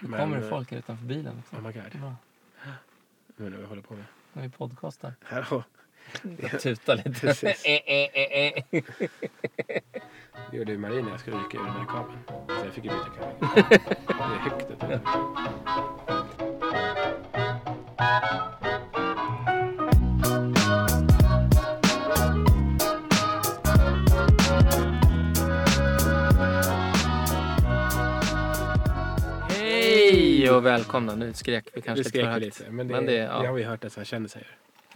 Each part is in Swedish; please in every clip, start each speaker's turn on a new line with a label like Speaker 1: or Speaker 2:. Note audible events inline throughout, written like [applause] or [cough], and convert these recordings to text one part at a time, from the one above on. Speaker 1: Nu
Speaker 2: Men,
Speaker 1: kommer Mm. det
Speaker 2: eh,
Speaker 1: folk utanför bilen också.
Speaker 2: Oh my god.
Speaker 1: Bra.
Speaker 2: Nu när vi håller på med.
Speaker 1: När vi podcastar.
Speaker 2: Hallå.
Speaker 1: Jag tutar lite.
Speaker 2: Precis.
Speaker 1: [laughs] Eh, eh, eh, eh.
Speaker 2: Det gjorde ju Marie när jag skulle rycka ur den här kabeln. Så jag fick ju byta kabel. Det är högt upp.
Speaker 1: Hej och välkomna. Nu skrek vi kanske
Speaker 2: Det
Speaker 1: lite för
Speaker 2: skrek
Speaker 1: högt.
Speaker 2: vi lite. Men det,
Speaker 1: Men det- ja.
Speaker 2: det har vi hört att så här kändisar gör.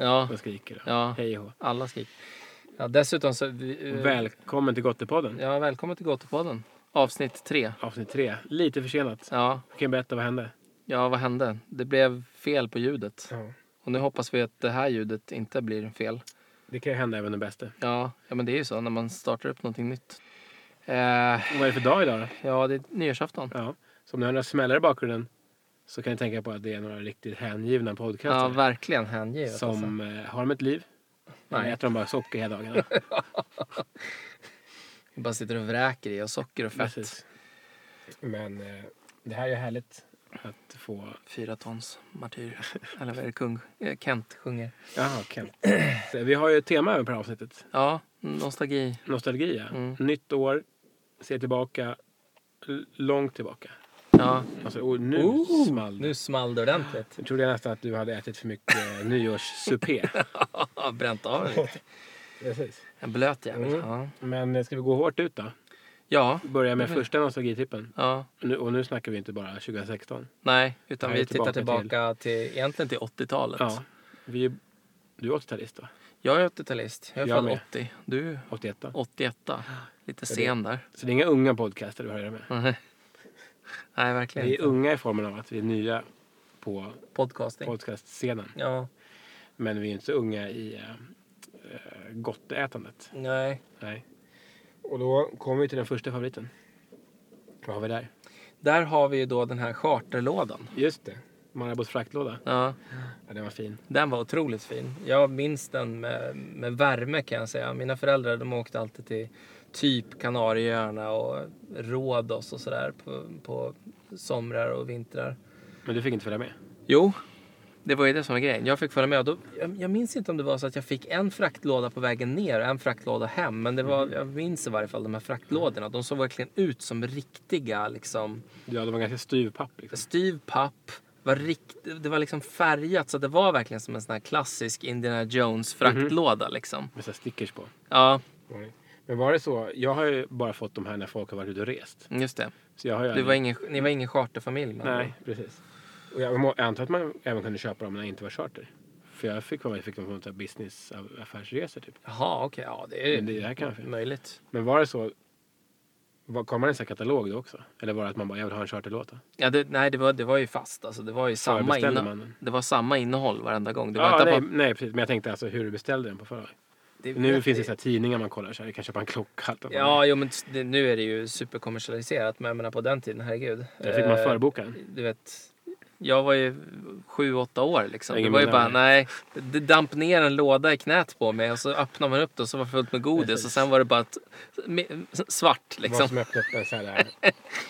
Speaker 1: Ja,
Speaker 2: De skriker. Och
Speaker 1: Ja.
Speaker 2: Hej och hå.
Speaker 1: alla skrek. Ja, dessutom så... Vi, eh,
Speaker 2: Välkommen till Gottepodden.
Speaker 1: ja, välkommen till Gotopodden. Avsnitt tre.
Speaker 2: Avsnitt tre. Lite försenat.
Speaker 1: Ja,
Speaker 2: Jag kan berätta vad hände.
Speaker 1: ja, vad hände? Det blev fel på ljudet.
Speaker 2: Ja.
Speaker 1: Och nu hoppas vi att det här ljudet inte blir fel.
Speaker 2: Det kan ju hända även den bästa.
Speaker 1: Ja, ja men det är ju så när man startar upp någonting nytt.
Speaker 2: Och
Speaker 1: Eh,
Speaker 2: vad är det för dag idag då?
Speaker 1: ja, det är nyårsafton.
Speaker 2: Ja. Så om ni har några smällare i bakgrunden så kan ni tänka på att det är några riktigt hängivna
Speaker 1: Ja,
Speaker 2: podcastare.
Speaker 1: verkligen hängivet. alltså.
Speaker 2: som eh, har de ett liv.
Speaker 1: Nej.
Speaker 2: Nej. Äter de bara socker hela
Speaker 1: [laughs]
Speaker 2: dagarna.
Speaker 1: Vi bara sitter och vräker i oss socker och fett.
Speaker 2: Precis. Men eh, det här är ju härligt att få...
Speaker 1: Fyra tons martyr. Eller vad är det kung? eh, Kent sjunger.
Speaker 2: Jaha, Kent. Så Vi har ju ett tema över på det här avsnittet.
Speaker 1: Ja, nostalgi.
Speaker 2: Nostalgi, ja.
Speaker 1: Mm.
Speaker 2: Nytt år, se tillbaka, l- långt tillbaka.
Speaker 1: Ja.
Speaker 2: Alltså, och nu
Speaker 1: Ooh,
Speaker 2: small det.
Speaker 1: Nu small det ordentligt.
Speaker 2: Jag trodde nästan att du hade ätit för mycket eh, nyårssupé.
Speaker 1: Ja, bränt [laughs] av det lite.
Speaker 2: [laughs] Precis.
Speaker 1: En blöt jävel.
Speaker 2: Mm.
Speaker 1: Ja.
Speaker 2: Men eh, ska vi gå hårt ut då?
Speaker 1: ja,
Speaker 2: Börja med
Speaker 1: Det vill-
Speaker 2: första nostalgitippen.
Speaker 1: ja,
Speaker 2: Nu, och nu snackar vi inte bara 2016.
Speaker 1: nej. Utan
Speaker 2: Nej,
Speaker 1: vi tittar
Speaker 2: tillbaka
Speaker 1: tillbaka till, egentligen till 80-talet.
Speaker 2: Ja, vi, är- du är 80-talist va?
Speaker 1: Jag är 80-talist. Jag är
Speaker 2: Jag
Speaker 1: född
Speaker 2: med.
Speaker 1: 80. Du är
Speaker 2: 81 då?
Speaker 1: 81. Lite sen där. [laughs]
Speaker 2: Så det är inga unga podcaster du har att göra med.
Speaker 1: Nej, verkligen
Speaker 2: Vi är
Speaker 1: inte.
Speaker 2: unga i formen av att vi är nya på
Speaker 1: Podcasting.
Speaker 2: podcastscenen.
Speaker 1: ja,
Speaker 2: Men vi är inte så unga i eh, eh, gottätandet.
Speaker 1: nej.
Speaker 2: Nej. Och då kommer vi till den första favoriten. Vad har vi där?
Speaker 1: Där har vi ju då den här charterlådan.
Speaker 2: Just det. Marabos fraktlåda.
Speaker 1: Ja,
Speaker 2: Ja, den var fin.
Speaker 1: den var otroligt fin. Jag minns den med, med värme kan jag säga. Mina föräldrar de åkte alltid till typ Kanarieöarna och Rhodos och sådär på, på somrar och vintrar.
Speaker 2: Men du fick inte följa med?
Speaker 1: Jo, det var ju det som var grejen. Jag fick följa med. Och då, jag, jag minns inte om det var så att jag fick en fraktlåda på vägen ner och en fraktlåda hem. Men det var, jag minns i varje fall de här fraktlådorna. De såg verkligen ut som riktiga liksom,
Speaker 2: Ja, det var ganska styv papp. Liksom.
Speaker 1: styv papp. Var rikt, det var liksom färgat så att det var verkligen som en sån här klassisk Indiana Jones fraktlåda.
Speaker 2: Mhm.
Speaker 1: Liksom.
Speaker 2: Med så här stickers på.
Speaker 1: Ja,
Speaker 2: Men var det så? Jag har ju bara fått de här när folk har varit ute och rest.
Speaker 1: just det.
Speaker 2: Så jag har ju
Speaker 1: Du
Speaker 2: aldrig-
Speaker 1: var ingen, ni var ingen charterfamilj? med andra
Speaker 2: Nej, precis. Och jag, må, jag antar att man även kunde köpa dem när det inte var charter. För jag fick, jag fick dem på något så här business affärsresor typ.
Speaker 1: Jaha, okej. Ja, det är
Speaker 2: Men det här kanske.
Speaker 1: möjligt.
Speaker 2: Men var det så? Var, kom man i en sån här katalog då också? Eller var det att man bara, jag vill ha en charterlåta?
Speaker 1: Ja, det, nej, det var, det var ju fast. Alltså, det, var ju samma
Speaker 2: beställde
Speaker 1: inno-
Speaker 2: man den?
Speaker 1: det var samma innehåll varenda gång. Det var
Speaker 2: Ja,
Speaker 1: inte
Speaker 2: nej,
Speaker 1: bara-
Speaker 2: nej, precis. Men jag tänkte alltså hur du beställde den på förra.
Speaker 1: Det
Speaker 2: Nu
Speaker 1: vet
Speaker 2: finns det
Speaker 1: vi.
Speaker 2: så här tidningar man kollar så här, du kan köpa en klocka. Allt vad fan
Speaker 1: Ja, jo, men det, nu är det ju superkommersialiserat. Men jag menar på den tiden, herregud.
Speaker 2: det är. Där fick man
Speaker 1: Eh,
Speaker 2: förboka den.
Speaker 1: Du vet, jag var ju sju, åtta år liksom. Det
Speaker 2: Ingen
Speaker 1: var ju
Speaker 2: minne
Speaker 1: bara,
Speaker 2: av det.
Speaker 1: nej. Det damp ner en låda i knät på mig och så öppnade man upp det och så var det fullt med godis
Speaker 2: Precis.
Speaker 1: och sen var det bara ett, me- svart
Speaker 2: Det var
Speaker 1: liksom.
Speaker 2: som öppnade upp en, så
Speaker 1: [laughs]
Speaker 2: här,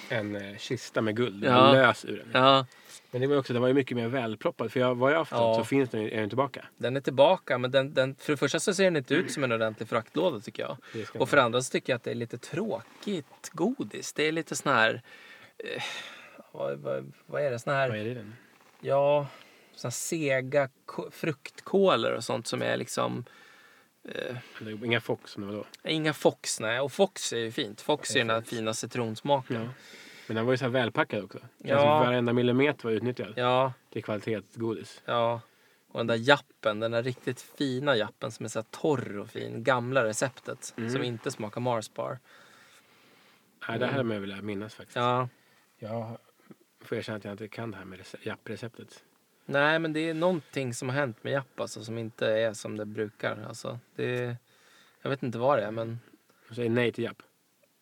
Speaker 2: en eh, kista med guld.
Speaker 1: Ja.
Speaker 2: Ja. Lös ur den.
Speaker 1: Ja,
Speaker 2: Men det var ju också, den var ju mycket mer välproppad. För jag, vad jag har förstått
Speaker 1: Ja.
Speaker 2: så finns den, ju- är den tillbaka.
Speaker 1: den är tillbaka men den, den, för det första så ser den inte ut som en ordentlig fraktlåda tycker jag.
Speaker 2: Det ska
Speaker 1: Och för det andra så tycker jag att det är lite tråkigt godis. Det är lite sån här... Eh, vad, vad, vad är det? Sån här...
Speaker 2: Vad är det i den?
Speaker 1: Ja, såna sega ko- fruktkolor och sånt som är liksom...
Speaker 2: Det är Inga Fox som det var då.
Speaker 1: Inga Fox, nej. Och Fox är ju fint. Fox är ju den här fina citronsmaken.
Speaker 2: Ja. Men den var ju så här välpackad också.
Speaker 1: Ja.
Speaker 2: Ja. Alltså, varenda millimeter var utnyttjad
Speaker 1: Ja,
Speaker 2: till kvalitetsgodis.
Speaker 1: ja. Och den där jappen, den där riktigt fina jappen som är så här torr och fin. Gamla receptet som inte smakar Mars bar.
Speaker 2: Nej, det här hade man ju velat minnas faktiskt.
Speaker 1: Mm. Ja.
Speaker 2: Jag får erkänna att jag inte kan det här med rece- jappreceptet.
Speaker 1: Nej, men det är någonting som har hänt med japp alltså, som inte är som det brukar. Alltså, det... Jag vet inte vad det är, men...
Speaker 2: Jag säger nej till japp.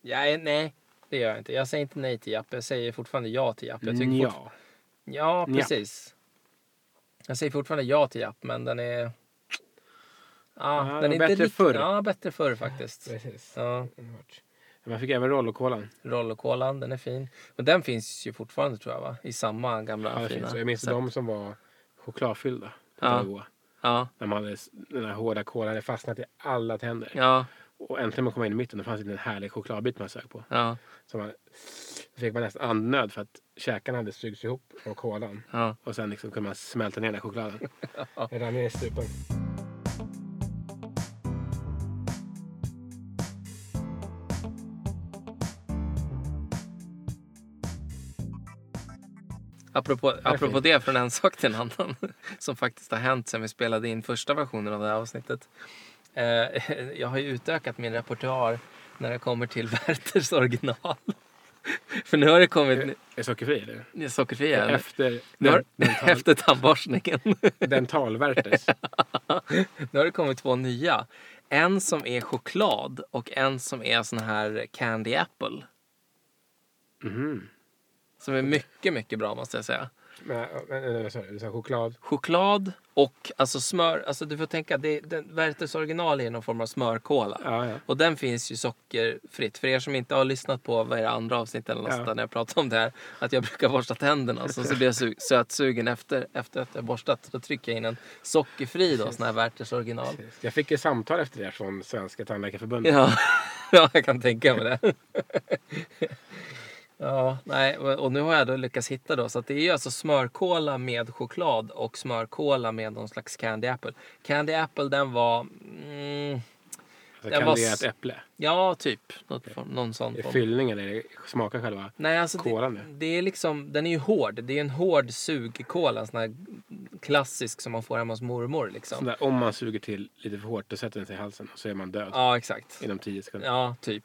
Speaker 1: Ja, nej, det gör jag inte. Jag säger inte nej till japp. Jag säger fortfarande Mm, ja till japp. Jag tycker fortfarande...
Speaker 2: ja.
Speaker 1: Ja,
Speaker 2: Njapp.
Speaker 1: precis. Jag säger fortfarande ja till Japp, men den är... Ja,
Speaker 2: Ja,
Speaker 1: den är
Speaker 2: bättre
Speaker 1: inte rikt-
Speaker 2: förr.
Speaker 1: Ja, bättre förr faktiskt.
Speaker 2: Precis.
Speaker 1: Ja.
Speaker 2: Man fick även rollokolan.
Speaker 1: Rollokolan, den är fin. Men den finns ju fortfarande tror jag va? I samma gamla
Speaker 2: Ja, det
Speaker 1: fina.
Speaker 2: finns. Och Jag minns
Speaker 1: sätt.
Speaker 2: de som var chokladfyllda.
Speaker 1: Ja.
Speaker 2: Ja. Goda.
Speaker 1: Ja,
Speaker 2: När man hade, s- den här hårda kolan hade fastnat i alla tänder.
Speaker 1: ja,
Speaker 2: Och äntligen man kom in i mitten då fanns det en liten härlig chokladbit man sög på.
Speaker 1: ja,
Speaker 2: Så man, då fick man nästan andnöd för att käkarna hade sugits ihop av kolan.
Speaker 1: ja.
Speaker 2: Och sen liksom kunde man smälta ner den här
Speaker 1: [laughs]
Speaker 2: chokladen. Det rann ner i strupen.
Speaker 1: Apropå, apropå
Speaker 2: fint.
Speaker 1: det, från en sak till en annan. [laughs] Som faktiskt har hänt sen vi spelade in första versionen av det här avsnittet. Eh, [laughs] jag har ju utökat min repertoar när det kommer till [laughs] Werthers original. För nu har det kommit
Speaker 2: Är sockerfri eller?
Speaker 1: ny- sockerfria. eller?
Speaker 2: Efter
Speaker 1: Nu har,
Speaker 2: den,
Speaker 1: [laughs]
Speaker 2: dental,
Speaker 1: efter tandborstningen.
Speaker 2: dentalvärtes.
Speaker 1: [laughs] Nu har det kommit två nya. En som är choklad och en som är sån här candy apple.
Speaker 2: Mhm.
Speaker 1: Som är mycket, mycket bra måste jag säga.
Speaker 2: Men, men, men, vad sa du? Du sa choklad?
Speaker 1: Choklad och alltså smör. Alltså du får tänka, det, den, Werthers original är någon form av smörkola.
Speaker 2: Ja, ja.
Speaker 1: Och den finns ju sockerfritt. För er som inte har lyssnat på vad är det, andra avsnitten eller något
Speaker 2: Ja.
Speaker 1: sånt där, när jag pratar om det här. Att jag brukar borsta tänderna och sen så blir jag su- sötsugen efter, efter att jag borstat. Då trycker jag in en sockerfri då, sån här Werthers original.
Speaker 2: Jag fick ett samtal efter det här från Svenska Tandläkarförbundet.
Speaker 1: Ja, [laughs] ja jag kan tänka mig det. [laughs] Ja, nej, och och nu har jag då lyckats hitta då. Så att det är ju alltså smörkola med choklad och smörkola med någon slags candy apple. Candy apple den var, mm,
Speaker 2: Alltså,
Speaker 1: Den
Speaker 2: kan
Speaker 1: var
Speaker 2: det ge ett
Speaker 1: s-
Speaker 2: äpple?
Speaker 1: ja typ, något form, någon sån
Speaker 2: Är
Speaker 1: form.
Speaker 2: fyllningen eller är det- smakar själva?
Speaker 1: Nej, alltså
Speaker 2: kolan
Speaker 1: det,
Speaker 2: nu?
Speaker 1: det är liksom, den är ju hård. Det är en hård sugkola, en sån här klassisk som man får hemma hos mormor
Speaker 2: Sån
Speaker 1: liksom.
Speaker 2: där, om man suger till lite för hårt då sätter den sig i halsen och så är man död
Speaker 1: Ja, exakt.
Speaker 2: inom 10 sekunder.
Speaker 1: Ja, typ.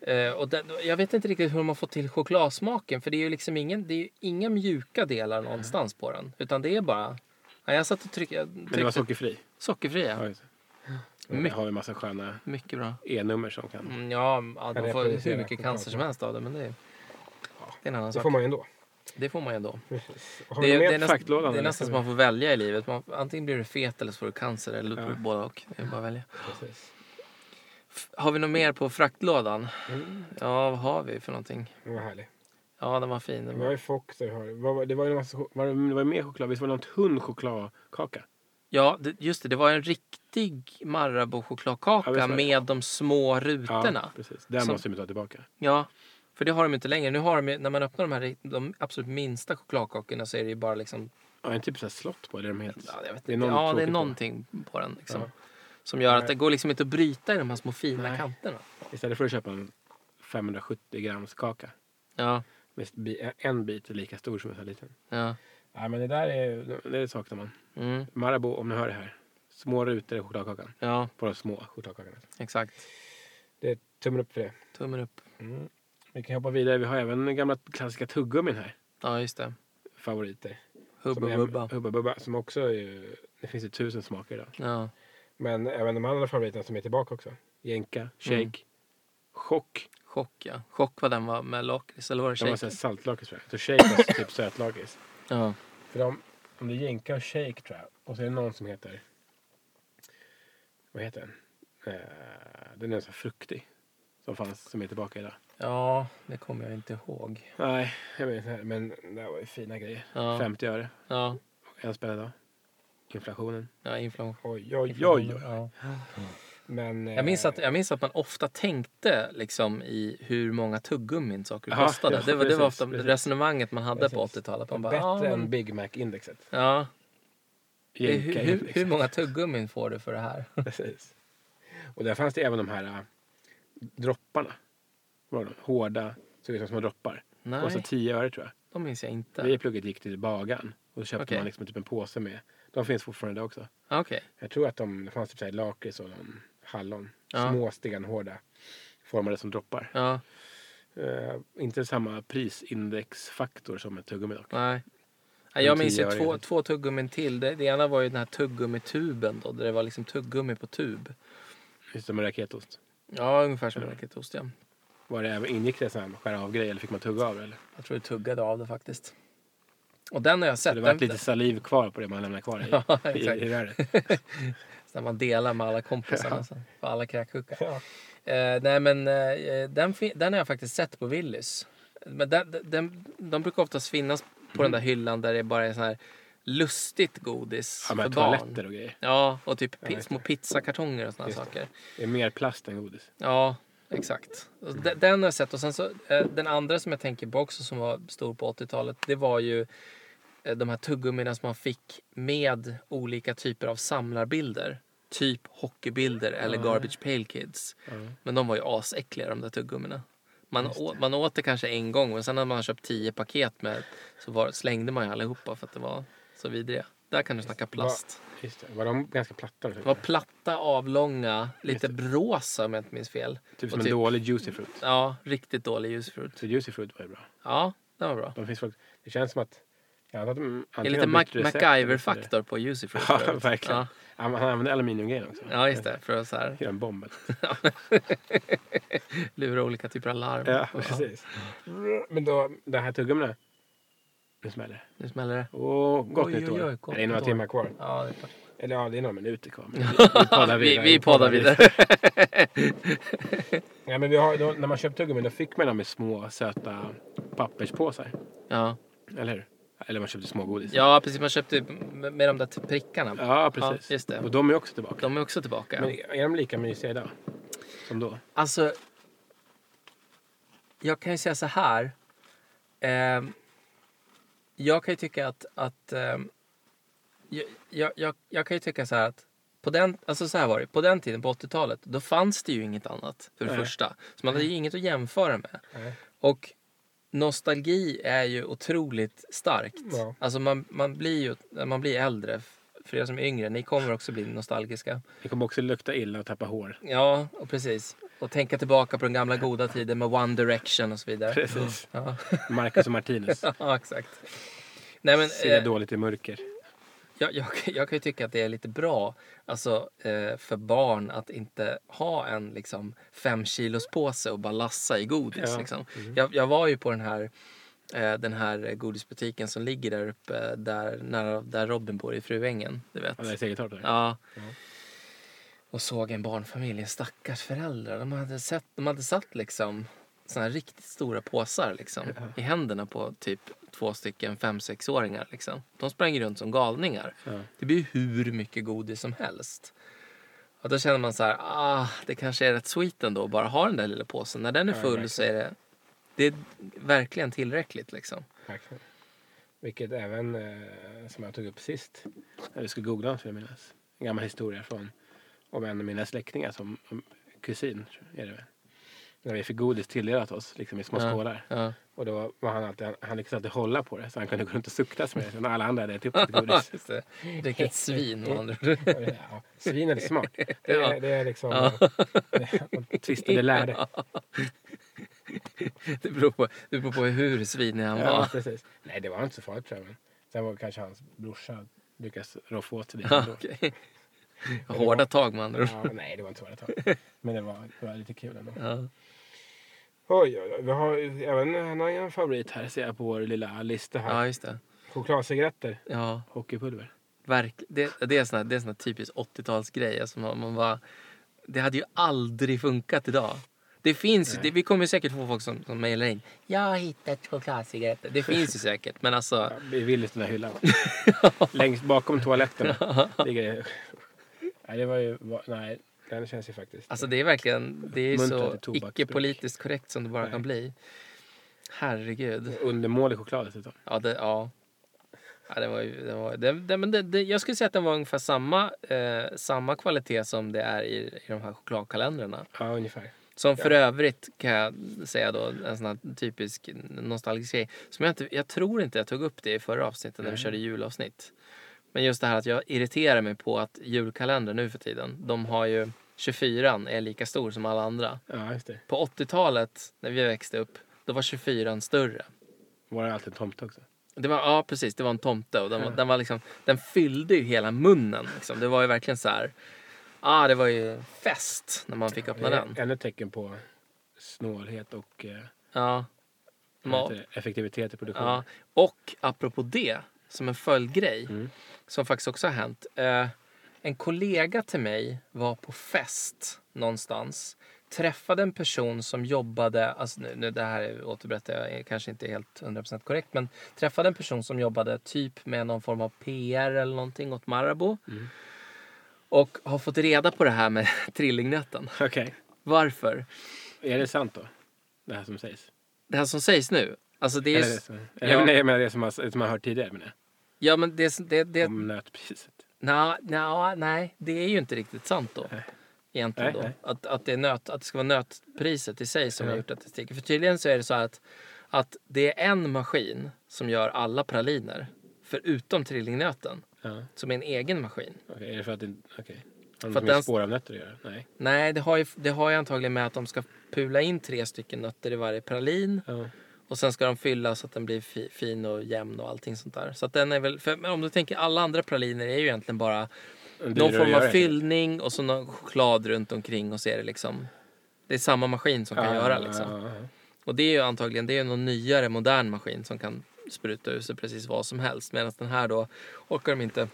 Speaker 1: Eh, och den, jag vet inte riktigt hur de har fått till chokladsmaken för det är ju liksom ingen, det är ju inga mjuka delar någonstans på den. Utan det är bara... Ja, jag satt och tryck, jag tryckte...
Speaker 2: Men det var sockerfri.
Speaker 1: Sockerfria.
Speaker 2: Ja, just det.
Speaker 1: My-
Speaker 2: Mm. har vi en massa sköna
Speaker 1: Mycket bra.
Speaker 2: E-nummer som kan...
Speaker 1: Mm, ja,
Speaker 2: Kan
Speaker 1: ja, de
Speaker 2: jag
Speaker 1: får
Speaker 2: producera
Speaker 1: hur mycket cancer
Speaker 2: chokladsmak?
Speaker 1: som helst av det men det är, det är en annan
Speaker 2: Det
Speaker 1: sak.
Speaker 2: får man ju ändå.
Speaker 1: Det får man ju ändå.
Speaker 2: Har
Speaker 1: Det
Speaker 2: du
Speaker 1: är, det, är
Speaker 2: med
Speaker 1: nästan,
Speaker 2: faktlådan?
Speaker 1: det är
Speaker 2: eller?
Speaker 1: nästan som man får välja i livet. Man, antingen blir du fet eller så får du cancer eller
Speaker 2: Ja.
Speaker 1: både och. Det är bara att välja.
Speaker 2: Precis.
Speaker 1: F- Har vi något mer på fraktlådan?
Speaker 2: Mm,
Speaker 1: Ja, vad har vi för någonting?
Speaker 2: det var härligt.
Speaker 1: Ja, den var fin. Den
Speaker 2: Vi har
Speaker 1: var...
Speaker 2: ju Fox och vi har... vad var- Det var ju en massa... chok- Var det, det var ju mer choklad. Visst var det någon tunn chokladkaka?
Speaker 1: Ja, det, just det. Det var en riktig
Speaker 2: Ja,
Speaker 1: Marabou-chokladkaka
Speaker 2: visst var det.
Speaker 1: med de små
Speaker 2: Ja,
Speaker 1: rutorna. Ja.
Speaker 2: precis. Den
Speaker 1: Som-
Speaker 2: måste vi ta tillbaka.
Speaker 1: för det har de inte längre. Nu har de, ju- när man öppnar de här ri- de absolut minsta chokladkakorna så är det ju bara liksom...
Speaker 2: Ja, en typ så här slott på. Eller de helt...
Speaker 1: Ja, jag vet
Speaker 2: Det är
Speaker 1: inte.
Speaker 2: någon
Speaker 1: ja det är
Speaker 2: tråkig på.
Speaker 1: någonting på, den liksom,
Speaker 2: Ja.
Speaker 1: som gör att det
Speaker 2: Nej.
Speaker 1: går liksom inte att bryta i de här små fina
Speaker 2: Nej.
Speaker 1: kanterna.
Speaker 2: Istället för att köpa en 570 grams kaka.
Speaker 1: Ja,
Speaker 2: med bi- En bit är lika stor som en sån här liten.
Speaker 1: ja.
Speaker 2: Nej, men det där är... Det saknar man.
Speaker 1: Mm,
Speaker 2: Marabou, om ni hör det här. Små rutor i chokladkakan.
Speaker 1: ja,
Speaker 2: På de små chokladkakorna.
Speaker 1: exakt.
Speaker 2: Det är tummen upp för det.
Speaker 1: Tummen upp.
Speaker 2: Mm. Vi kan hoppa vidare. Vi har även gamla klassiska tuggummin här.
Speaker 1: Ja, just det.
Speaker 2: Favoriter.
Speaker 1: Hubba
Speaker 2: Som är-
Speaker 1: bubba.
Speaker 2: Hubba Bubba. Som också är ju... Det finns ju tusen smaker idag.
Speaker 1: Ja.
Speaker 2: Men även de andra favoriterna som är tillbaka också. Jenka, shake,
Speaker 1: Mm.
Speaker 2: chock.
Speaker 1: Chock, ja. Chock vad den var med lakrits, eller var
Speaker 2: De
Speaker 1: det
Speaker 2: var
Speaker 1: shake?
Speaker 2: såhär saltlakris tror jag. Så shake var typ sötlakris.
Speaker 1: Ja.
Speaker 2: För de, om det är jenka och shake tror jag. Och så är det någon som heter... Vad heter den? Eh, den är så här fruktig. Som fanns, som är tillbaka idag.
Speaker 1: ja, det kommer jag inte ihåg.
Speaker 2: Nej, jag vet inte. Men det här var ju fina grejer.
Speaker 1: Ja.
Speaker 2: 50 öre.
Speaker 1: Ja.
Speaker 2: En spänn idag. Inflationen.
Speaker 1: Ja, inflation.
Speaker 2: Oj, oj,
Speaker 1: Ja.
Speaker 2: Men, eh,
Speaker 1: Jag, minns att, jag minns att man ofta tänkte liksom, i hur många tuggummin saker
Speaker 2: Ja,
Speaker 1: kostade.
Speaker 2: ja,
Speaker 1: det, var, det var
Speaker 2: precis,
Speaker 1: ofta
Speaker 2: precis.
Speaker 1: resonemanget man hade på
Speaker 2: Precis.
Speaker 1: 80-talet. Man bara,
Speaker 2: Bättre
Speaker 1: ja,
Speaker 2: än
Speaker 1: men,
Speaker 2: Big Mac-indexet.
Speaker 1: ja. Det, är- hur,
Speaker 2: Jenka
Speaker 1: hur,
Speaker 2: indexet.
Speaker 1: hur många tuggummin får du för det här?
Speaker 2: [laughs] Precis. Och där fanns det även de här äh, dropparna. Vad var de? Hårda, såg ut som små droppar.
Speaker 1: Nej,
Speaker 2: Och så 10 öre tror jag.
Speaker 1: de minns jag inte.
Speaker 2: Vi i plugget gick till bagaren och så köpte
Speaker 1: Okej.
Speaker 2: man liksom typ en påse med. De finns fortfarande idag också.
Speaker 1: Ah, Okej.
Speaker 2: Jag tror att de, det fanns typ så här lakrits och någon hallon.
Speaker 1: Ja.
Speaker 2: Små stenhårda. Formade som droppar.
Speaker 1: Ja,
Speaker 2: Eh, inte samma prisindexfaktor som ett tuggummi dock.
Speaker 1: nej. Nej,
Speaker 2: En
Speaker 1: Jag minns ju
Speaker 2: tioöring.
Speaker 1: två, två tuggummin till. Det, det ena var ju den här tuggummituben då, där det var liksom tuggummi på tub. Mm.
Speaker 2: Just som en raketost.
Speaker 1: Ja, ungefär som en raketost. Ja.
Speaker 2: Var det även, ingick det sån här skära av grej eller fick man tugga av det? Eller?
Speaker 1: Jag tror du tuggade av det faktiskt. Och den har jag
Speaker 2: Så
Speaker 1: sett.
Speaker 2: det var
Speaker 1: Den, [laughs]
Speaker 2: lite saliv kvar på det man lämnade kvar i,
Speaker 1: Ja,
Speaker 2: i,
Speaker 1: exakt. [laughs]
Speaker 2: i röret.
Speaker 1: Så när man delar med alla kompisarna sen. För alla kräksjuka.
Speaker 2: Ja.
Speaker 1: Eh, nej men eh, den, fin- den har jag faktiskt sett på Willys. Men den, den, de brukar oftast finnas på den där hyllan där det bara är sån här lustigt godis
Speaker 2: Ja,
Speaker 1: för
Speaker 2: med
Speaker 1: barn.
Speaker 2: toaletter och grejer.
Speaker 1: Ja, och typ pi-
Speaker 2: just
Speaker 1: små pizzakartonger och såna här
Speaker 2: Just det.
Speaker 1: saker.
Speaker 2: Det är mer plast än godis.
Speaker 1: Ja, exakt. Och de- Den har jag sett. Och sen så, eh, den andra som jag tänker på också som var stor på 80-talet, det var ju eh, de här tuggummina som man fick med olika typer av samlarbilder. Typ hockeybilder eller
Speaker 2: Ja.
Speaker 1: Garbage Pail Kids.
Speaker 2: Ja.
Speaker 1: Men de var ju asäckliga de där tuggummina. Man, å, man åt det kanske en gång men sen när man har köpt tio paket med så var, slängde man ju allihopa för att det var så vidriga. Där kan du snacka plast.
Speaker 2: Just det. Var de ganska platta?
Speaker 1: Det var platta, avlånga, lite bråsa om jag inte minns fel.
Speaker 2: typ
Speaker 1: och
Speaker 2: som
Speaker 1: typ-
Speaker 2: en dålig juicy fruit.
Speaker 1: Ja, riktigt dålig ljusfrukt.
Speaker 2: Så juicy fruit var ju bra.
Speaker 1: Ja, den var bra.
Speaker 2: De finns folk... Det känns som att... Jag antar att de
Speaker 1: Det är
Speaker 2: antingen har
Speaker 1: lite
Speaker 2: bytt
Speaker 1: Mac-
Speaker 2: recept eller så vidare.
Speaker 1: MacGyver-faktor på ljusfrukt.
Speaker 2: [laughs] Ja, verkligen.
Speaker 1: Ja,
Speaker 2: Han, han använde aluminiumgrejen också.
Speaker 1: ja, just det. För att så här,
Speaker 2: Göra en bomb. eller?
Speaker 1: lura olika typer av larm.
Speaker 2: Ja, precis. Men då, det här tuggummina. Nu smäller det.
Speaker 1: Nu smäller det.
Speaker 2: Åh, gott
Speaker 1: Oj,
Speaker 2: nytt
Speaker 1: oj,
Speaker 2: år.
Speaker 1: oj, gott
Speaker 2: det är några
Speaker 1: nytt år.
Speaker 2: timmar kvar.
Speaker 1: Ja, det är klart.
Speaker 2: Eller ja, det är några minuter kvar.
Speaker 1: [laughs]
Speaker 2: Men vi,
Speaker 1: Alltså, Vi, vi poddar vidare.
Speaker 2: Ja, men vi har, då, när man köpte tuggummi då fick man dem i små söta papperspåsar.
Speaker 1: [laughs] Ja.
Speaker 2: Eller hur? Eller man köpte smågodis.
Speaker 1: ja, precis. Man köpte ju med, med de där t- prickarna.
Speaker 2: Ja, precis.
Speaker 1: Ja, just det.
Speaker 2: Och de är också tillbaka.
Speaker 1: De är också tillbaka.
Speaker 2: Men är de lika mysiga idag? Som då?
Speaker 1: Alltså, jag kan ju säga så här. Ehm, jag kan ju tycka att... att ehm, jag, jag, jag, jag kan ju tycka så här att... På den, alltså så här var det, på den tiden, på 80-talet, då fanns det ju inget annat. För det
Speaker 2: Nej.
Speaker 1: första. Så man hade ju inget att jämföra med.
Speaker 2: Nej.
Speaker 1: Och nostalgi är ju otroligt starkt.
Speaker 2: Ja.
Speaker 1: Alltså man, man blir ju när man blir äldre. För er som är yngre, ni kommer också bli nostalgiska.
Speaker 2: Det kommer också lukta illa och tappa hår.
Speaker 1: Ja, och precis. Och tänka tillbaka på den gamla goda tiden med One Direction och så vidare.
Speaker 2: Precis.
Speaker 1: Ja,
Speaker 2: Marcus och
Speaker 1: [laughs]
Speaker 2: Martinus.
Speaker 1: ja exakt. Nej, men,
Speaker 2: Ser
Speaker 1: eh,
Speaker 2: dåligt i mörker.
Speaker 1: jag, jag, jag kan ju tycka att det är lite bra alltså, eh, för barn att inte ha en liksom, fem kilos påse och bara lassa i godis.
Speaker 2: Ja. Mm.
Speaker 1: Liksom. Jag, jag var ju på den här, eh, den här godisbutiken som ligger där uppe där, nära, där Robin bor i Fruängen. Du vet.
Speaker 2: Ja, det är Segeltorp där.
Speaker 1: Ja.
Speaker 2: Ja.
Speaker 1: Och såg en barnfamilj, en stackars föräldrar. De hade, sett, de hade satt liksom såna här riktigt stora påsar liksom, i händerna på typ två stycken fem-sexåringar. Liksom. De sprang runt som galningar.
Speaker 2: Ja.
Speaker 1: Det blir ju hur mycket godis som helst. Och då känner man så här, ah, det kanske är rätt sweet ändå att bara ha den där lilla påsen. När den är
Speaker 2: Ja,
Speaker 1: full så är det, det är verkligen tillräckligt. Liksom.
Speaker 2: Verkligen. Vilket även, eh, som jag tog upp sist, när vi skulle googla så jag minnas. En gammal historia från om en av mina släktingar som om- kusin, tror jag, är det väl. När vi fick godis tilldelat oss, liksom i små
Speaker 1: Ja.
Speaker 2: skålar.
Speaker 1: Ja.
Speaker 2: Och då var han alltid, han lyckades alltid hålla på det så han kunde gå runt och suktas med det. När alla andra hade ätit upp sitt
Speaker 1: [laughs]
Speaker 2: godis.
Speaker 1: Just det. Riktigt svin med andra ord.
Speaker 2: ja, svin är smart. Det är,
Speaker 1: Ja.
Speaker 2: det är liksom... [laughs]
Speaker 1: Ja.
Speaker 2: De tvistade lärde.
Speaker 1: [laughs] Det beror på, det beror på hur svinig han var. [laughs]
Speaker 2: Ja, precis. Nej, det var inte så farligt tror jag. Men sen var kanske hans brorsa lyckades roffa åt sig lite
Speaker 1: Ja,
Speaker 2: ändå.
Speaker 1: okej. Hårda tag med andra ord.
Speaker 2: Ja, nej, det var inte så det Men det var, det var lite kul ändå.
Speaker 1: Ja.
Speaker 2: Oj, oj, oj. Vi har ju även en annan favorit här ser jag på vår lilla lista här.
Speaker 1: ja, just det.
Speaker 2: Chokladcigaretter,
Speaker 1: Ja,
Speaker 2: hockeypulver.
Speaker 1: verk, det, det är en sån här, det är en sån här typisk 80-talsgrej. Alltså man, man bara, det hade ju aldrig funkat idag. Det finns ju,
Speaker 2: Nej.
Speaker 1: det, vi kommer säkert få folk som, som mejlar in. Jag har hittat chokladcigaretter. Det finns ju säkert, men alltså.
Speaker 2: Ja, I Willys den där hyllan. Längst bakom toaletten ligger det. Nej, det var ju... va- Nej, den känns ju faktiskt...
Speaker 1: Alltså det är verkligen, det är ju
Speaker 2: Uppmuntrar
Speaker 1: så
Speaker 2: till tobaksbruk.
Speaker 1: icke-politiskt korrekt som det bara
Speaker 2: Nej.
Speaker 1: kan bli. Herregud.
Speaker 2: Undermålig choklad dessutom.
Speaker 1: Ja, det, ja. ja det var ju, det var, det, det, men det, det, jag skulle säga att den var ungefär samma, eh, samma kvalitet som det är i, i de här chokladkalendrarna.
Speaker 2: Ja, ungefär.
Speaker 1: Som för övrigt kan jag säga då, en sån här typisk nostalgisk grej. Som jag, inte, jag tror inte jag tog upp det i förra avsnittet när vi
Speaker 2: Nej.
Speaker 1: körde julavsnitt. Men just det här att jag irriterar mig på att julkalendern nu för tiden, de har ju 24 är lika stor som alla andra.
Speaker 2: Ja, just det.
Speaker 1: På 80-talet när vi växte upp, då var 24 större.
Speaker 2: Var det alltid en tomte också?
Speaker 1: Det var, ja, precis. Det var en tomte och den, var-
Speaker 2: Ja.
Speaker 1: den, var liksom, den fyllde ju hela munnen. Liksom. Det var ju verkligen så här... Ah, det var ju fest när man fick öppna
Speaker 2: Det är
Speaker 1: den.
Speaker 2: Eh, Ännu ett tecken på snålhet och eh,
Speaker 1: Ja.
Speaker 2: vad
Speaker 1: Ma-
Speaker 2: heter det? effektivitet i produktionen.
Speaker 1: ja. Och apropå det, som en följdgrej,
Speaker 2: Mm.
Speaker 1: som faktiskt också har hänt. Eh, en kollega till mig var på fest någonstans träffade en person som jobbade, alltså nu, nu det här återberättar jag är kanske inte helt 100% korrekt, men träffade en person som jobbade typ med någon form av PR eller någonting åt Marabou.
Speaker 2: Mm.
Speaker 1: Och har fått reda på det här med [laughs] trillingnöten.
Speaker 2: [laughs] Okej.
Speaker 1: Varför?
Speaker 2: Är det sant då? Det här som sägs?
Speaker 1: Det här som sägs nu, alltså det är
Speaker 2: Eller,
Speaker 1: ju...
Speaker 2: det som, eller
Speaker 1: ja.
Speaker 2: nej, jag menar det som man, som man hört tidigare menar
Speaker 1: Ja men det, det, det,
Speaker 2: jag. Om nötpriset.
Speaker 1: Nå, nå, nej, det är ju inte riktigt sant då.
Speaker 2: Nej.
Speaker 1: Egentligen
Speaker 2: Nej,
Speaker 1: då.
Speaker 2: nej.
Speaker 1: Att, att, det är nöt, att det ska vara nötpriset i sig som har
Speaker 2: Ja.
Speaker 1: gjort att det sticker. För tydligen så är det så här att, att det är en maskin som gör alla praliner. Förutom trillingnöten,
Speaker 2: Ja.
Speaker 1: som är en egen maskin.
Speaker 2: Okej, är det för att det inte... Okej. Har
Speaker 1: att
Speaker 2: det
Speaker 1: den-
Speaker 2: med spår av nötter att göra? Nej.
Speaker 1: Nej, det har, ju, det har ju antagligen med att de ska pula in tre stycken nötter i varje pralin.
Speaker 2: Ja.
Speaker 1: Och sen ska de fylla så att den blir fi, fin och jämn och allting sånt där. Så att den är väl, för, men om du tänker alla andra praliner är ju egentligen bara
Speaker 2: Dyrare
Speaker 1: Någon
Speaker 2: att
Speaker 1: form av
Speaker 2: göra,
Speaker 1: fyllning och så någon choklad runt omkring och så är det liksom Det är samma maskin som
Speaker 2: helt
Speaker 1: kan
Speaker 2: enkelt.
Speaker 1: göra
Speaker 2: Ja,
Speaker 1: liksom.
Speaker 2: ja, ja.
Speaker 1: Och det är ju antagligen det är någon nyare modern maskin som kan spruta ur sig precis vad som helst. Medan den här då orkar de inte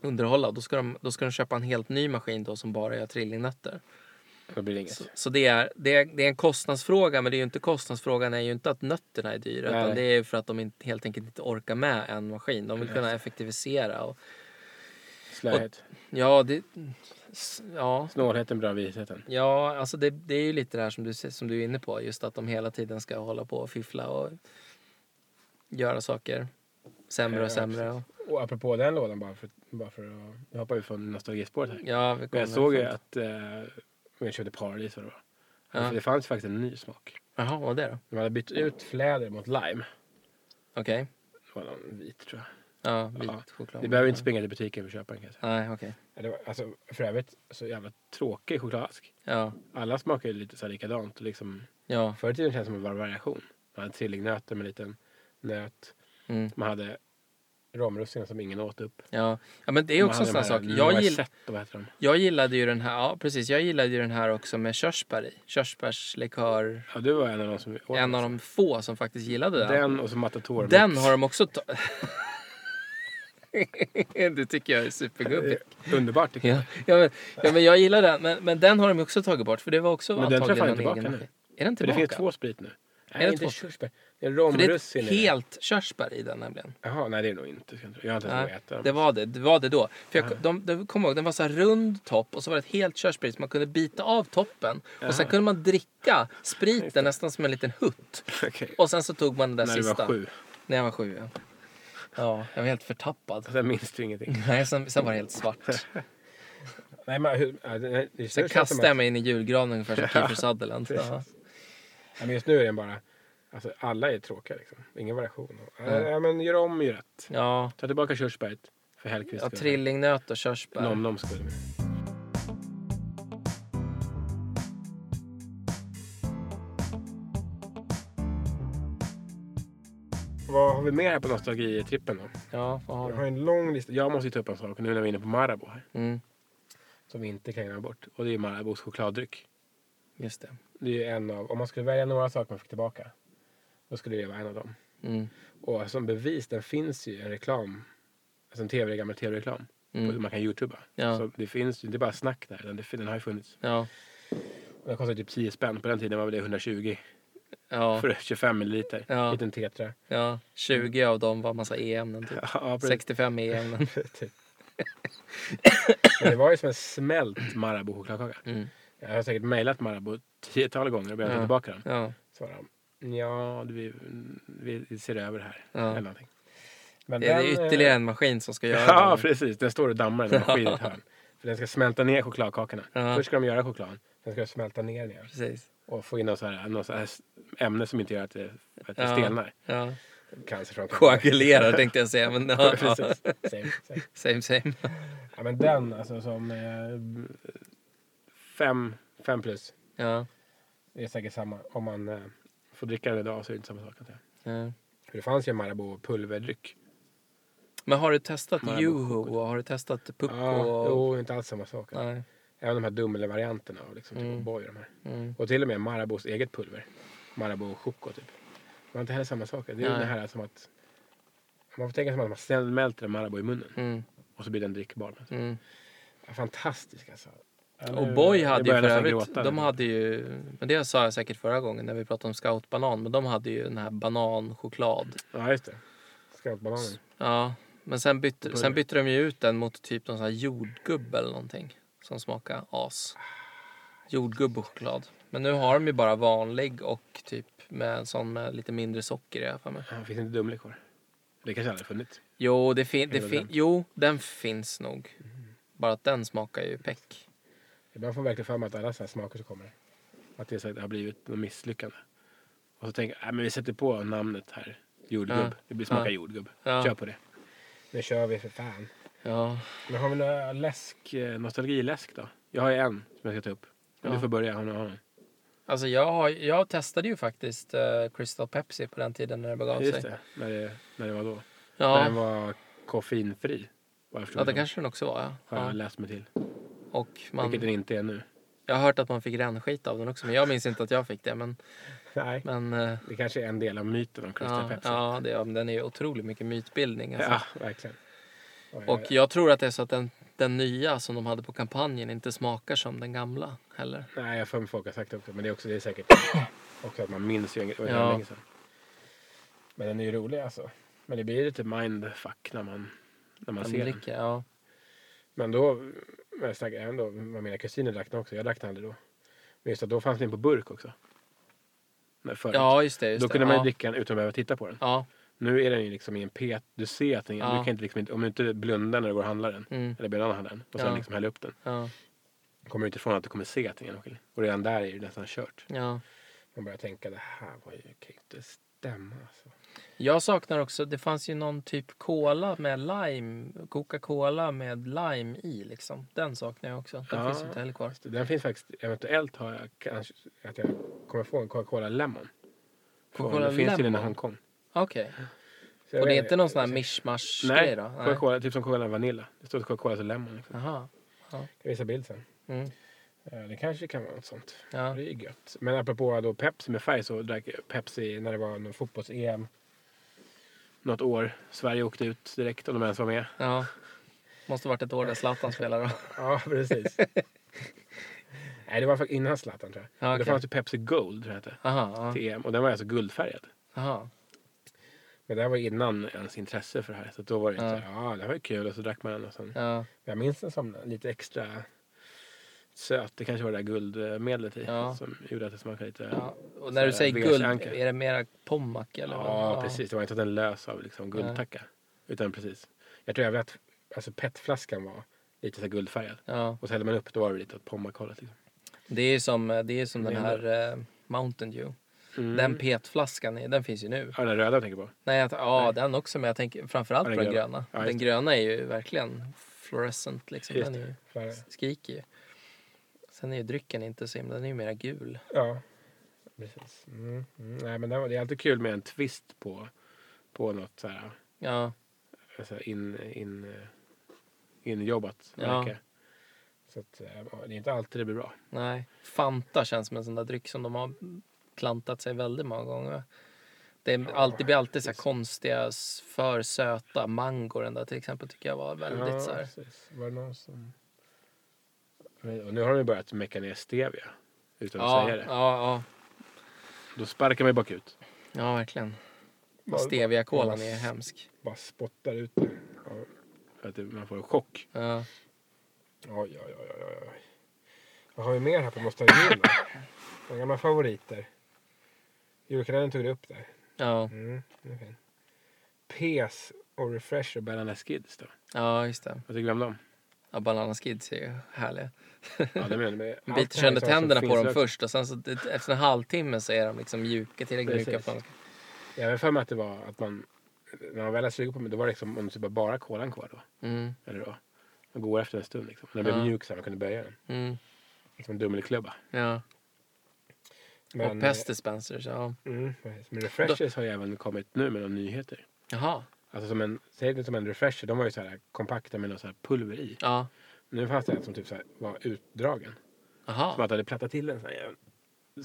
Speaker 1: underhålla. Då ska de, då ska de köpa en helt ny maskin då som bara gör trillingnötter.
Speaker 2: Då blir det inget.
Speaker 1: Så, så det, är, det, är, det är en kostnadsfråga men det är ju inte kostnadsfrågan är ju inte att nötterna är dyra
Speaker 2: Nej,
Speaker 1: utan
Speaker 2: nej.
Speaker 1: det är ju för att de inte, helt enkelt inte orkar med en maskin. De vill
Speaker 2: Nej.
Speaker 1: kunna effektivisera och
Speaker 2: Slöhet.
Speaker 1: ja, det... s- Ja.
Speaker 2: Snålheten bra visheten.
Speaker 1: Ja, alltså det, det är ju lite det här som du, som du är inne på. Just att de hela tiden ska hålla på och fiffla och göra saker sämre
Speaker 2: Ja,
Speaker 1: och sämre.
Speaker 2: precis.
Speaker 1: och-
Speaker 2: Och apropå den lådan bara för, bara för att jag hoppar ut från nostalgispåret här.
Speaker 1: Ja, vi
Speaker 2: Men
Speaker 1: kommer
Speaker 2: jag såg ju
Speaker 1: fram
Speaker 2: att eh, jag köpte Paradis vad det var.
Speaker 1: Ja.
Speaker 2: För det fanns faktiskt en ny smak.
Speaker 1: till- Jaha, vad var det då?
Speaker 2: De hade bytt ut fläder mot lime.
Speaker 1: Okej.
Speaker 2: Det var någon vit tror jag.
Speaker 1: Ja, vit
Speaker 2: Ja,
Speaker 1: choklad.
Speaker 2: Ni behöver inte springa till butiken för att köpa den kanske.
Speaker 1: Nej, okej.
Speaker 2: Ja, det var, alltså, för övrigt så jävla tråkig chokladask.
Speaker 1: Ja,
Speaker 2: Alla smakar ju lite så här likadant. och Liksom,
Speaker 1: ja.
Speaker 2: förr i tiden känns det som en var variation. Man hade trillingnötter med en liten nöt.
Speaker 1: Mm,
Speaker 2: Man hade romrussinen som ingen åt upp.
Speaker 1: ja. ja, men det är
Speaker 2: Man
Speaker 1: också en
Speaker 2: hade
Speaker 1: sån här
Speaker 2: de här
Speaker 1: sak. Jag, gill,
Speaker 2: noisette, vad heter de?
Speaker 1: jag gillade ju den här, ja precis. Jag gillade ju den här också med körsbär i. Körsbärslikör.
Speaker 2: Ja, du var en av de som åt
Speaker 1: En
Speaker 2: den.
Speaker 1: av de få som faktiskt gillade den.
Speaker 2: Den och så Matador.
Speaker 1: Den har de
Speaker 2: [laughs]
Speaker 1: också... Ta- det tycker jag är supergubbigt.
Speaker 2: Eh, Underbart tycker jag.
Speaker 1: Ja, ja, men, ja, men jag gillar den. Men, men den har de ju också tagit bort. För det var också
Speaker 2: Men den tror jag fan är
Speaker 1: antagligen någon
Speaker 2: tillbaka
Speaker 1: egen
Speaker 2: nu.
Speaker 1: maskin. Är den
Speaker 2: För det
Speaker 1: tillbaka?
Speaker 2: finns två sprit nu.
Speaker 1: Är
Speaker 2: Nej,
Speaker 1: det
Speaker 2: inte
Speaker 1: två?
Speaker 2: körsbär. Det är
Speaker 1: För det är ett
Speaker 2: romrussin. i den.
Speaker 1: helt körsbär i den nämligen.
Speaker 2: Jaha, nej det är nog inte. ska jag inte- Jag har inte ens
Speaker 1: Nej,
Speaker 2: vågat äta dem.
Speaker 1: det var det. Det var det då. För jag,
Speaker 2: Aha.
Speaker 1: de, de, kom ihåg, den var så här rund topp och så var det ett helt körsbär i, så man kunde bita av toppen. Och sen
Speaker 2: Aha.
Speaker 1: kunde man dricka spriten nästan som en liten hutt.
Speaker 2: [laughs] Okej.
Speaker 1: Och sen så tog man den där
Speaker 2: När du
Speaker 1: sista.
Speaker 2: var sju.
Speaker 1: När jag var sju, ja. Ja, jag var helt förtappad.
Speaker 2: Sen minns du ingenting.
Speaker 1: Nej, sen, sen var det helt svart.
Speaker 2: [laughs] Nej, men hur, ja, det- det- det-
Speaker 1: Sen
Speaker 2: det känns som att-
Speaker 1: kastade jag mig in i julgranen ungefär
Speaker 2: [laughs]
Speaker 1: som Kiefer Sutherland. Ja.
Speaker 2: Ja, men just nu är den bara... Alltså, alla är tråkiga liksom. Ingen variation. Ja. ja, men gör om, gör rätt.
Speaker 1: ja.
Speaker 2: Ta tillbaka körsbäret. För Hellkvists
Speaker 1: Ja, trillingnöt och körsbär.
Speaker 2: Nom-noms skull. Vad har vi mer här på nostalgitrippen då?
Speaker 1: Ja, vad har
Speaker 2: Jag har
Speaker 1: du?
Speaker 2: en lång lista. Jag måste ju ta upp en sak nu när vi är inne på Marabou här.
Speaker 1: Mm,
Speaker 2: Som vi inte kan glömma bort. Och det är Marabous chokladdryck.
Speaker 1: just det.
Speaker 2: Det är ju en av, om man skulle välja några saker man fick tillbaka. Då skulle det vara en av dem.
Speaker 1: Mm,
Speaker 2: Och som bevis, den finns ju en reklam. Alltså en TV, gammal tv-reklam.
Speaker 1: Mm.
Speaker 2: på- Man kan youtuba.
Speaker 1: Ja.
Speaker 2: Så det finns ju, det är bara snack där. Den, den har ju funnits.
Speaker 1: ja.
Speaker 2: Och Den kostar typ 10 spänn. På den tiden var det 120
Speaker 1: Ja,
Speaker 2: för 25 milliliter.
Speaker 1: Ja.
Speaker 2: Liten tetra.
Speaker 1: ja, 20 av dem var massa e-ämnen. Typ.
Speaker 2: Ja, precis. [laughs]
Speaker 1: 65 e-ämnen.
Speaker 2: Typ. Men det var ju som en smält Marabou chokladkaka.
Speaker 1: Mm.
Speaker 2: Jag har säkert mejlat Marabou tiotal gånger och börjat
Speaker 1: Ja.
Speaker 2: ta tillbaka dem.
Speaker 1: Ja,
Speaker 2: Svarar de. Ja, du, vi, vi ser över det här.
Speaker 1: Ja.
Speaker 2: Eller någonting. Men
Speaker 1: det är
Speaker 2: den, eh,
Speaker 1: ytterligare en maskin som ska göra
Speaker 2: [laughs] Ja,
Speaker 1: det.
Speaker 2: precis. Den står och dammar i den maskinen i ett hörn. För den ska smälta ner chokladkakorna.
Speaker 1: Ja.
Speaker 2: Först ska de göra chokladen. Sen ska de smälta ner den igen.
Speaker 1: Precis.
Speaker 2: Och få in något så här, något så här ämne som inte gör att det, att det
Speaker 1: Ja.
Speaker 2: stelnar.
Speaker 1: Ja.
Speaker 2: Cancerframkallande.
Speaker 1: Koagulerar tänkte jag
Speaker 2: [laughs]
Speaker 1: säga, men [laughs] ja, ja.
Speaker 2: precis. Same, same.
Speaker 1: Same same.
Speaker 2: Ja, men den alltså som... Eh, fem, fem plus.
Speaker 1: Ja,
Speaker 2: Det är säkert samma. Om man eh, får dricka den idag så är det inte samma sak. antar jag.
Speaker 1: ja.
Speaker 2: För det fanns ju Marabou pulverdryck.
Speaker 1: Men har du testat
Speaker 2: Marabou
Speaker 1: Juho och har du testat Pucko?
Speaker 2: Ja,
Speaker 1: och...
Speaker 2: jo, inte alls samma sak.
Speaker 1: Nej.
Speaker 2: Även de här dummelvarianterna av liksom, typ
Speaker 1: Mm.
Speaker 2: O'boy och de här.
Speaker 1: Mm.
Speaker 2: Och till och med Marabous eget pulver. Marabou Choco typ. Men inte heller samma sak. Det är ju
Speaker 1: Nej.
Speaker 2: det här som att... Man får tänka som att man smälter en Marabou i munnen
Speaker 1: Mm.
Speaker 2: och så blir den drickbar.
Speaker 1: Mm.
Speaker 2: Fantastisk alltså. Ja,
Speaker 1: Och
Speaker 2: nu-
Speaker 1: Boy
Speaker 2: nu
Speaker 1: hade ju
Speaker 2: börjar
Speaker 1: för
Speaker 2: jag nästan
Speaker 1: övrigt,
Speaker 2: gråta.
Speaker 1: de hade ju, men det sa jag säkert förra gången när vi pratade om scoutbanan, men de hade ju den här bananchoklad.
Speaker 2: Ja, just det. Scoutbananer.
Speaker 1: Ja, men sen bytte, sen bytte de ju ut den mot typ någon sån här jordgubbe eller någonting som smakar as. Jordgubb och choklad. Men nu har de ju bara vanlig och typ med en sån med lite mindre socker i alla fall.
Speaker 2: Ja, finns inte Dumle kvar? Det kanske aldrig funnits.
Speaker 1: Jo, det fin- det
Speaker 2: Hela
Speaker 1: fin-
Speaker 2: den.
Speaker 1: jo, den finns nog. Bara att den smakar ju peck.
Speaker 2: Ibland får man verkligen för mig att alla sådana smaker som kommer. Att det, är så att det har blivit något misslyckande. Och så tänker jag, "Nej, men vi sätter på namnet här. Jordgubb.
Speaker 1: Ja.
Speaker 2: Det blir smaka
Speaker 1: Ja.
Speaker 2: jordgubb.
Speaker 1: Ja.
Speaker 2: Kör på det. Nu kör vi för fan.
Speaker 1: Ja,
Speaker 2: Men har vi några läsk, eh, nostalgiläsk då? Jag har ju en som jag ska ta upp. Men
Speaker 1: Ja.
Speaker 2: Du får börja om du har någon.
Speaker 1: alltså jag, har, jag testade ju faktiskt eh, Crystal Pepsi på den tiden när det begav
Speaker 2: Just
Speaker 1: sig.
Speaker 2: det, när det, när det var då. När den
Speaker 1: Ja,
Speaker 2: var koffeinfri. Vad jag förstår
Speaker 1: ja, det
Speaker 2: som.
Speaker 1: kanske den också var ja.
Speaker 2: Har jag
Speaker 1: ja.
Speaker 2: läst mig till.
Speaker 1: Och man,
Speaker 2: Vilket den inte är nu.
Speaker 1: jag har hört att man fick rännskit av den också, men jag minns inte att jag fick det. Men,
Speaker 2: Nej.
Speaker 1: men eh,
Speaker 2: Det kanske är en del av myten om Crystal
Speaker 1: ja,
Speaker 2: Pepsi.
Speaker 1: ja, det, ja, men den är ju otroligt mycket mytbildning. Alltså.
Speaker 2: ja, verkligen.
Speaker 1: Och jag tror att det är så att den, den nya som de hade på kampanjen inte smakar som den gamla heller.
Speaker 2: Nej, jag får mig folk har sagt det också. Men det är, också, det är säkert
Speaker 1: [coughs]
Speaker 2: också att man minns ju en grej. Det var
Speaker 1: Ja.
Speaker 2: ja. länge sedan. Men den är ju rolig alltså. Men det blir lite mindfuck när man, när man
Speaker 1: Den
Speaker 2: ser den.
Speaker 1: dricker, ja.
Speaker 2: Men då, men jag snackar även då, vad mina kusiner drack den också. Jag drack den aldrig då. Men just att då fanns den på burk också. Nej, förut.
Speaker 1: ja, just det. Just
Speaker 2: då
Speaker 1: det.
Speaker 2: kunde man ju
Speaker 1: ja.
Speaker 2: dricka den utan att behöva titta på den.
Speaker 1: Ja,
Speaker 2: Nu är den ju liksom i en pet. Du ser att den,
Speaker 1: Ja.
Speaker 2: du kan inte liksom, inte- om du inte blundar när du går och handlar den.
Speaker 1: mm,
Speaker 2: Eller ber någon handla den. Och sen
Speaker 1: Ja.
Speaker 2: liksom häller upp den.
Speaker 1: ja,
Speaker 2: Kommer du inte ifrån att du kommer se att den är genomskinlig. Och redan där är det nästan kört.
Speaker 1: ja.
Speaker 2: Man börjar tänka det här var ju, kan ju inte stämma. Alltså.
Speaker 1: Jag saknar också, det fanns ju någon typ cola med lime, Coca-Cola med lime i liksom. Den saknar jag också. Den
Speaker 2: Ja.
Speaker 1: finns ju inte heller kvar.
Speaker 2: Fast Den finns faktiskt, eventuellt har jag kanske, att jag kommer få en Coca-Cola Lemon. Från-
Speaker 1: Coca-Cola
Speaker 2: det finns ju den i
Speaker 1: Lemon?
Speaker 2: Hongkong.
Speaker 1: Okej.
Speaker 2: Så jag
Speaker 1: Och det
Speaker 2: vet
Speaker 1: är inte någon sån här mishmash
Speaker 2: Nej,
Speaker 1: grej då?
Speaker 2: Coca-Cola, typ som Coca-Cola Vanilla. Det står Coca-Cola så Lemon. Liksom.
Speaker 1: Jaha.
Speaker 2: Jag visar bild sen.
Speaker 1: Mm.
Speaker 2: Eh, Det kanske kan vara något sånt.
Speaker 1: Ja.
Speaker 2: Det är ju gött. Men apropå då Pepsi med färg så drack jag Pepsi när det var någon fotbolls-EM. Något år. Sverige åkte ut direkt om de ens var med.
Speaker 1: ja. Måste varit ett år där Zlatan spelade då.
Speaker 2: Ja, precis. [laughs] Nej, det var faktiskt innan Zlatan tror jag.
Speaker 1: Ja,
Speaker 2: Det
Speaker 1: okej.
Speaker 2: fanns ju Pepsi Gold tror jag det hette.
Speaker 1: Jaha. Ja.
Speaker 2: till EM. Och den var alltså guldfärgad.
Speaker 1: Jaha.
Speaker 2: Men det här var innan ens intresse för det här. Så då var det inte
Speaker 1: Ja.
Speaker 2: så här, ja det här var ju kul. Och så drack man den och sen.
Speaker 1: Ja.
Speaker 2: Jag minns den som lite extra söt. Det kanske var det där guldmedlet i.
Speaker 1: Ja.
Speaker 2: Som gjorde att det smakade lite.
Speaker 1: ja. Och när du
Speaker 2: Så,
Speaker 1: säger
Speaker 2: Vegas
Speaker 1: guld,
Speaker 2: Anker.
Speaker 1: är det mera pommac eller? vad?
Speaker 2: Ja, precis. Det var inte att den lös av liksom guldtacka. Utan precis. Jag tror även att alltså, petflaskan var lite så här guldfärgad.
Speaker 1: Ja.
Speaker 2: Och så hällde man upp, då var det lite åt pommakollet. Liksom.
Speaker 1: Det är ju som, det är som den
Speaker 2: Vinner.
Speaker 1: här eh, Mountain Dew.
Speaker 2: Mm.
Speaker 1: Den petflaskan, är- den finns ju nu.
Speaker 2: Ja, den röda tänker jag på.
Speaker 1: Nej, jag, ja, den också, men jag tänker framförallt
Speaker 2: Ja,
Speaker 1: på
Speaker 2: den
Speaker 1: den gröna.
Speaker 2: gröna. Ja, just
Speaker 1: den
Speaker 2: det.
Speaker 1: gröna är ju verkligen fluorescent, liksom.
Speaker 2: Just
Speaker 1: den är ju,
Speaker 2: För,
Speaker 1: skriker ju. Sen är ju drycken inte så himla, den är ju mera gul.
Speaker 2: ja, precis. Mm. Mm. Nej, men det, var, det är alltid kul med en twist på, på något så här,
Speaker 1: Ja,
Speaker 2: alltså in, in, eh, injobbat
Speaker 1: Ja.
Speaker 2: märke. Så att, eh, det är inte alltid det blir bra.
Speaker 1: nej. Fanta känns som en sån där dryck som de har klantat sig väldigt många gånger. Det är alltid, blir alltid så här konstiga, s- för söta mangor. Den där till exempel tycker jag var väldigt
Speaker 2: Ja,
Speaker 1: så här.
Speaker 2: precis. Var det någon som... Och nu har de ju börjat mecka ner stevia. Utan att
Speaker 1: Ja,
Speaker 2: säga
Speaker 1: ja,
Speaker 2: det.
Speaker 1: ja,
Speaker 2: Då sparkar man ju bakut.
Speaker 1: ja, verkligen.
Speaker 2: Bara-
Speaker 1: Stevia-kolan
Speaker 2: bara-
Speaker 1: är hemsk.
Speaker 2: Bara spottar ut det. Ja, för att det- man får en chock.
Speaker 1: Ja.
Speaker 2: Oj, oj, oj, oj, oj. Vad har vi mer här på nostalgin då? Några gamla favoriter. Julkalendern tog du upp där.
Speaker 1: Ja,
Speaker 2: Mm, den är fin. Pes och Refresher och Banana Skids då.
Speaker 1: ja, just det.
Speaker 2: Vad tycker vi om dem?
Speaker 1: Ja, Banana Skids är ju härliga.
Speaker 2: Ja, det liksom menar jag.
Speaker 1: Man biter sönder tänderna på dem först och sen så det- efter en halvtimme så är de liksom mjuka, tillräckligt
Speaker 2: Precis.
Speaker 1: mjuka för att
Speaker 2: Jag har för mig att det var att man, när man väl har sugit på dem, då var det liksom om det typ var bara kolan kvar då.
Speaker 1: mm,
Speaker 2: Eller då. Man går efter en stund liksom. Den blev
Speaker 1: Ja.
Speaker 2: mjuk så här, man kunde böja den.
Speaker 1: mm,
Speaker 2: Som en dummelklubba.
Speaker 1: ja.
Speaker 2: Men,
Speaker 1: Och Pest Dispensers, ja.
Speaker 2: eh, Mm, precis. men Refreshers har ju även kommit nu med några nyheter.
Speaker 1: Jaha,
Speaker 2: Alltså som en, säg det som en Refresher, de var ju så här kompakta med något så här pulver i.
Speaker 1: ja.
Speaker 2: Nu fanns det en som typ så här var utdragen. Som
Speaker 1: Aha.
Speaker 2: att det hade plattat till den så här. jävla-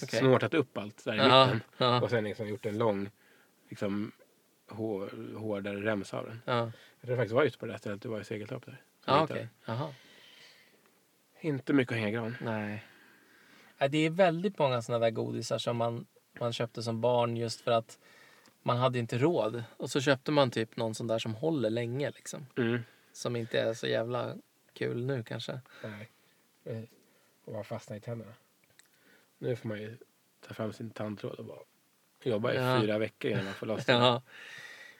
Speaker 1: Okej.
Speaker 2: Snortat upp allt där i
Speaker 1: Ja,
Speaker 2: mitten.
Speaker 1: ja,
Speaker 2: Och sen liksom gjort en lång, liksom hår, hårdare remsa av den.
Speaker 1: ja.
Speaker 2: Jag tror det faktiskt var just på det här stället, det var i Segeltorp där. som
Speaker 1: Ja,
Speaker 2: jag hittade.
Speaker 1: okej. Jaha.
Speaker 2: Inte mycket att hänga i gran.
Speaker 1: Nej. Nej, Det är väldigt många såna där godisar som man, man köpte som barn just för att man hade inte råd. Och så köpte man typ någon sån där som håller länge liksom.
Speaker 2: Mm.
Speaker 1: Som inte är så jävla kul nu kanske.
Speaker 2: Nej. Eh, Och bara fastna i tänderna. Nu får man ju ta fram sin tandtråd och bara jobba i
Speaker 1: Ja.
Speaker 2: fyra veckor innan man får loss den.
Speaker 1: [laughs] Ja.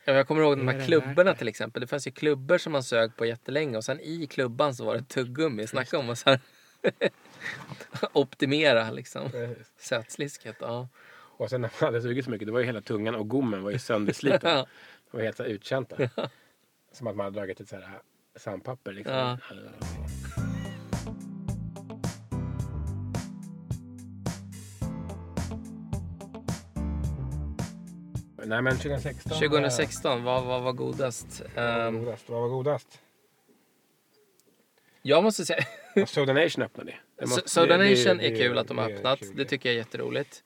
Speaker 1: Ja, men jag kommer ihåg de
Speaker 2: Är
Speaker 1: här
Speaker 2: det
Speaker 1: klubborna
Speaker 2: värt det?
Speaker 1: till exempel. Det fanns ju klubbor som man sög på jättelänge och sen i klubban så var det tuggummi. Snacka om att så här [laughs] optimera liksom.
Speaker 2: Precis.
Speaker 1: Sötslisket, ja.
Speaker 2: Och sen när man hade sugit så mycket, det var ju hela tungan och gommen var ju
Speaker 1: [laughs]
Speaker 2: söndersliten.
Speaker 1: Ja.
Speaker 2: De var helt så här uttjänta. Som att man hade dragit ett så här äh, sandpapper. Liksom.
Speaker 1: Ja.
Speaker 2: Nej men 2016. eh,
Speaker 1: 2016, vad, vad var godast?
Speaker 2: Vad var
Speaker 1: Ehm,
Speaker 2: godast? Vad var godast?
Speaker 1: jag måste säga,
Speaker 2: Soda Nation öppnade. Det
Speaker 1: So-
Speaker 2: måste-
Speaker 1: Soda
Speaker 2: det- det-
Speaker 1: Nation
Speaker 2: det-
Speaker 1: är kul att de har
Speaker 2: det är
Speaker 1: öppnat.
Speaker 2: kul, Mm.
Speaker 1: Det tycker jag är jätteroligt.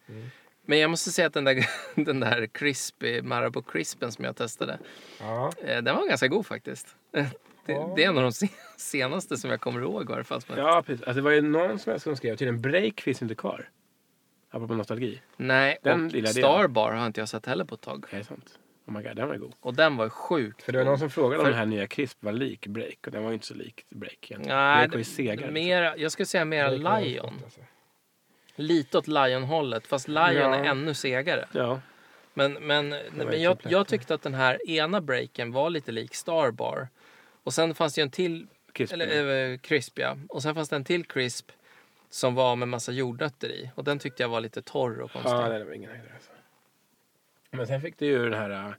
Speaker 1: Men jag måste säga att den där, [laughs] den där crispy, Marabou crispen som jag testade,
Speaker 2: Ja.
Speaker 1: eh, den var ganska god faktiskt. [laughs] Det,
Speaker 2: Ja.
Speaker 1: det är en av de se- [laughs] senaste som jag kommer ihåg i alla fall. som jag-
Speaker 2: Ja, precis. Alltså, det var ju någon som, som skrev till en break finns inte kvar. Apropå nostalgi.
Speaker 1: Nej,
Speaker 2: Den
Speaker 1: och
Speaker 2: lilla delen.
Speaker 1: Starbar har inte jag sett heller på ett tag.
Speaker 2: Är det sant? Oh my god, den var god.
Speaker 1: Och den var ju sjukt
Speaker 2: För det var någon som frågade om
Speaker 1: För-
Speaker 2: den här nya Crisp var lik break och den var ju inte så lik break egentligen.
Speaker 1: Nej,
Speaker 2: break var ju segare.
Speaker 1: mera, jag skulle säga mera
Speaker 2: Break liksom. var ju
Speaker 1: Lion.
Speaker 2: gott, alltså.
Speaker 1: Lite åt Lion-hållet, fast Lion
Speaker 2: Ja.
Speaker 1: är ännu segare.
Speaker 2: Ja,
Speaker 1: Men,
Speaker 2: var
Speaker 1: men, men
Speaker 2: ju typ
Speaker 1: jag,
Speaker 2: komplett,
Speaker 1: jag
Speaker 2: ja.
Speaker 1: tyckte att den här ena breaken var lite lik Starbar. Och sen fanns det ju en till,
Speaker 2: Crisp.
Speaker 1: eller eh, Crisp ja. Och sen fanns det en till Crisp som var med massa jordnötter i. Och den tyckte jag var lite torr och konstig.
Speaker 2: ja, nej, det var ingen höjdare alltså. Men sen fick du ju den här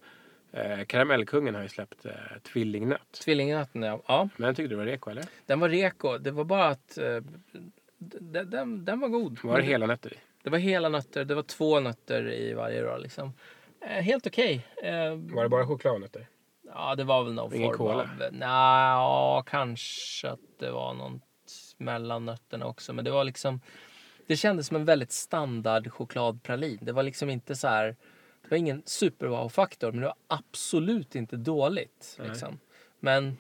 Speaker 2: eh, Karamellkungen har ju släppt eh, Tvillingnöt.
Speaker 1: Tvillingnöten ja. ja.
Speaker 2: Men den tyckte du var reko eller?
Speaker 1: Den var reko. Det var bara att eh, den, den, den var god.
Speaker 2: Var det hela nötter i?
Speaker 1: Det var hela nötter. Det var två nötter i varje rör liksom. Eh, helt okej. Eh,
Speaker 2: Var det bara chokladnötter?
Speaker 1: Ja, det var väl någon
Speaker 2: Ingen
Speaker 1: form
Speaker 2: cola?
Speaker 1: av... Nja, ja, kanske att det var något mellan nötterna också. Men det var liksom... Det kändes som en väldigt standard chokladpralin. Det var liksom inte så här... Det var ingen superwow-faktor, men det var absolut inte dåligt.
Speaker 2: Nej.
Speaker 1: Liksom. Men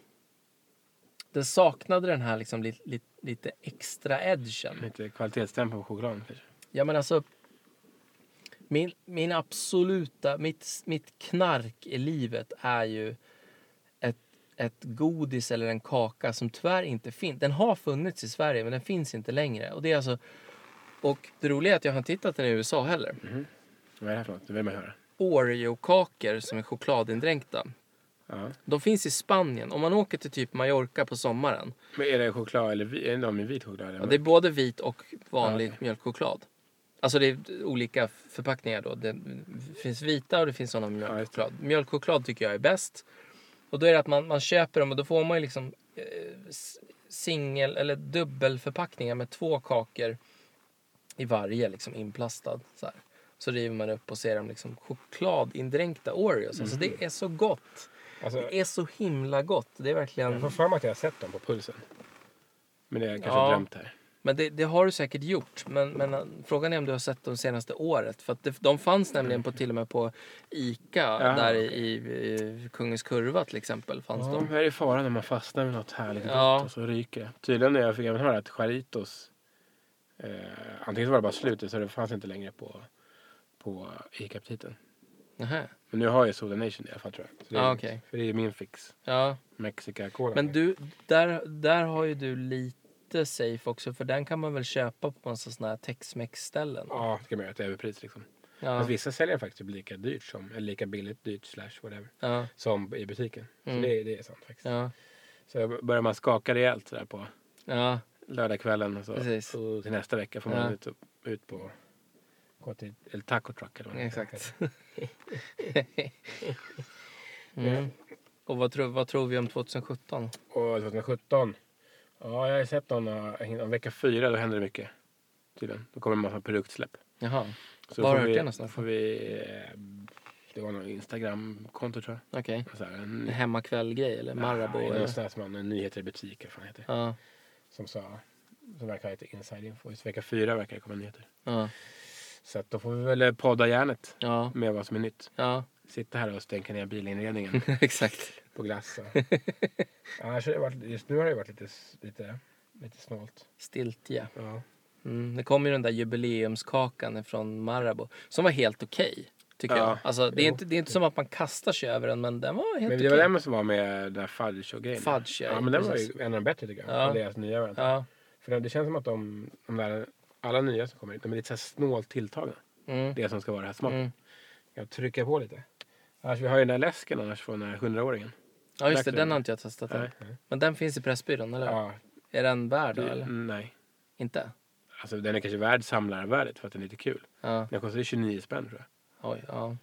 Speaker 1: det saknade den här liksom lite, lite, lite extra edgen.
Speaker 2: Lite kvalitetsstämpel på chokladen kanske?
Speaker 1: Ja, men alltså... Min, min absoluta... Mitt, mitt knark i livet är ju ett, ett godis eller en kaka som tyvärr inte finns. Den har funnits i Sverige, men den finns inte längre. Och det, är alltså, och det roliga är att jag har inte hittat den i USA heller.
Speaker 2: Vad är det här för något? Det vill man höra.
Speaker 1: Oreo-kakor som är chokladindränkta.
Speaker 2: Ja.
Speaker 1: De finns i Spanien. Om man åker till typ Mallorca på sommaren.
Speaker 2: Men är det choklad eller vi, är det någon med vit choklad? Eller?
Speaker 1: Ja, det är både vit och vanlig
Speaker 2: Ja,
Speaker 1: mjölkchoklad. Alltså det är olika förpackningar då. Det finns vita och det finns sådana med
Speaker 2: Ja, just
Speaker 1: mjölkchoklad. Mjölkchoklad tycker jag är bäst. Och då är det att man, man köper dem och då får man ju liksom eh, s- singel eller dubbelförpackningar med två kakor i varje liksom inplastad. Så, här. så river man upp och ser dem liksom chokladindränkta Oreos. Alltså
Speaker 2: Mm.
Speaker 1: det är så gott.
Speaker 2: Alltså,
Speaker 1: Det är så himla gott. Det är verkligen...
Speaker 2: Jag får för mig att jag har sett dem på pulsen. Men det är kanske
Speaker 1: Ja.
Speaker 2: drömt här.
Speaker 1: Men det, det har du säkert gjort. Men, men eh, frågan är om du har sett dem senaste året. För att det, de fanns nämligen på, till och med på Ica
Speaker 2: Jaha,
Speaker 1: där i, i, i Kungens Kurva till exempel. fanns
Speaker 2: Ja,
Speaker 1: de.
Speaker 2: vad är det faran när man fastnar med något härligt
Speaker 1: Ja.
Speaker 2: gott och så ryker det? Tydligen när jag fick även höra att Charitos eh, antingen så var det bara slut så det fanns inte längre på, på Ica-aptiten.
Speaker 1: Nähä.
Speaker 2: Men nu har jag Soda Nation i alla fall tror jag. Så det är
Speaker 1: Ja,
Speaker 2: lugnt.
Speaker 1: Ah, okej.
Speaker 2: För det är ju min fix.
Speaker 1: Ja.
Speaker 2: Mexica-cola.
Speaker 1: Men du, där, där har ju du lite safe också. För den kan man väl köpa på massa såna här tex-mex ställen.
Speaker 2: Ja, det kan man göra till överpris liksom.
Speaker 1: Ja.
Speaker 2: Fast vissa säljer faktiskt typ lika dyrt som, eller lika billigt dyrt slash whatever,
Speaker 1: Ja.
Speaker 2: som i butiken. Så
Speaker 1: Mm.
Speaker 2: det, det är sant faktiskt.
Speaker 1: Ja.
Speaker 2: Så börjar man skaka rejält sådär på
Speaker 1: Ja.
Speaker 2: lördagskvällen och så.
Speaker 1: Precis.
Speaker 2: Och till nästa vecka får man
Speaker 1: Ja.
Speaker 2: ut, ut på gå till, eller taco truck eller vad det heter.
Speaker 1: Exakt. mm. Och vad tror, vad tror vi om 2017?
Speaker 2: Och 2017. Ja, jag har ju sett någon, eh, om vecka fyra då händer det mycket. Tydligen. Då kommer det en massa produktsläpp.
Speaker 1: Jaha,
Speaker 2: Så
Speaker 1: Var
Speaker 2: får
Speaker 1: har du
Speaker 2: vi-
Speaker 1: hört det någonstans?
Speaker 2: Får vi, eh, det var något Instagram-konto tror
Speaker 1: okej.
Speaker 2: jag. Så här, en,
Speaker 1: En hemmakvällgrej eller Marabou?
Speaker 2: Nej,
Speaker 1: eller?
Speaker 2: någon sån här som man, nyheter i butik, vad fan heter. det?
Speaker 1: Ja,
Speaker 2: Som sa, som verkar ha lite inside info. Så vecka fyra verkar det komma nyheter.
Speaker 1: ja,
Speaker 2: Så att då får vi väl eh, podda järnet
Speaker 1: ja,
Speaker 2: med vad som är nytt.
Speaker 1: ja.
Speaker 2: Sitta här och stänka ner bilinredningen. [laughs]
Speaker 1: exakt.
Speaker 2: på glass. Och... Annars har det varit, just nu har det varit lite, lite Lite snålt.
Speaker 1: Stiltje.
Speaker 2: Ja.
Speaker 1: Mm, det kom ju den där jubileumskakan från Marabou som var helt okej. tycker
Speaker 2: Ja,
Speaker 1: jag. Alltså, det, är
Speaker 2: jo.
Speaker 1: inte, det är inte som att man kastar sig över den men den var helt
Speaker 2: Men
Speaker 1: okej.
Speaker 2: det var den som var med den här fudge och grejen.
Speaker 1: Fudge, ja,
Speaker 2: ja. men den var
Speaker 1: precis.
Speaker 2: ju en av de bättre tycker jag.
Speaker 1: Ja.
Speaker 2: Ja. Deras nya variant.
Speaker 1: Ja.
Speaker 2: För det- det känns som att de, de där, alla nya som kommer hit, de är lite så här snålt tilltagna.
Speaker 1: Mm.
Speaker 2: Det som ska vara det här smarta.
Speaker 1: Mm.
Speaker 2: Jag trycker på lite. Annars, vi har ju den där läsken annars från den här hundraåringen.
Speaker 1: ja just det,
Speaker 2: Verkligen.
Speaker 1: den har inte jag testat än.
Speaker 2: Nej. nej.
Speaker 1: Men den finns i Pressbyrån eller?
Speaker 2: Ja,
Speaker 1: Är den värd då
Speaker 2: det-
Speaker 1: eller?
Speaker 2: nej.
Speaker 1: Inte?
Speaker 2: Alltså den är kanske värd samlarvärdet för att den är lite kul.
Speaker 1: Ja.
Speaker 2: Den kostar ju 29 spänn tror jag.
Speaker 1: Oj, ja.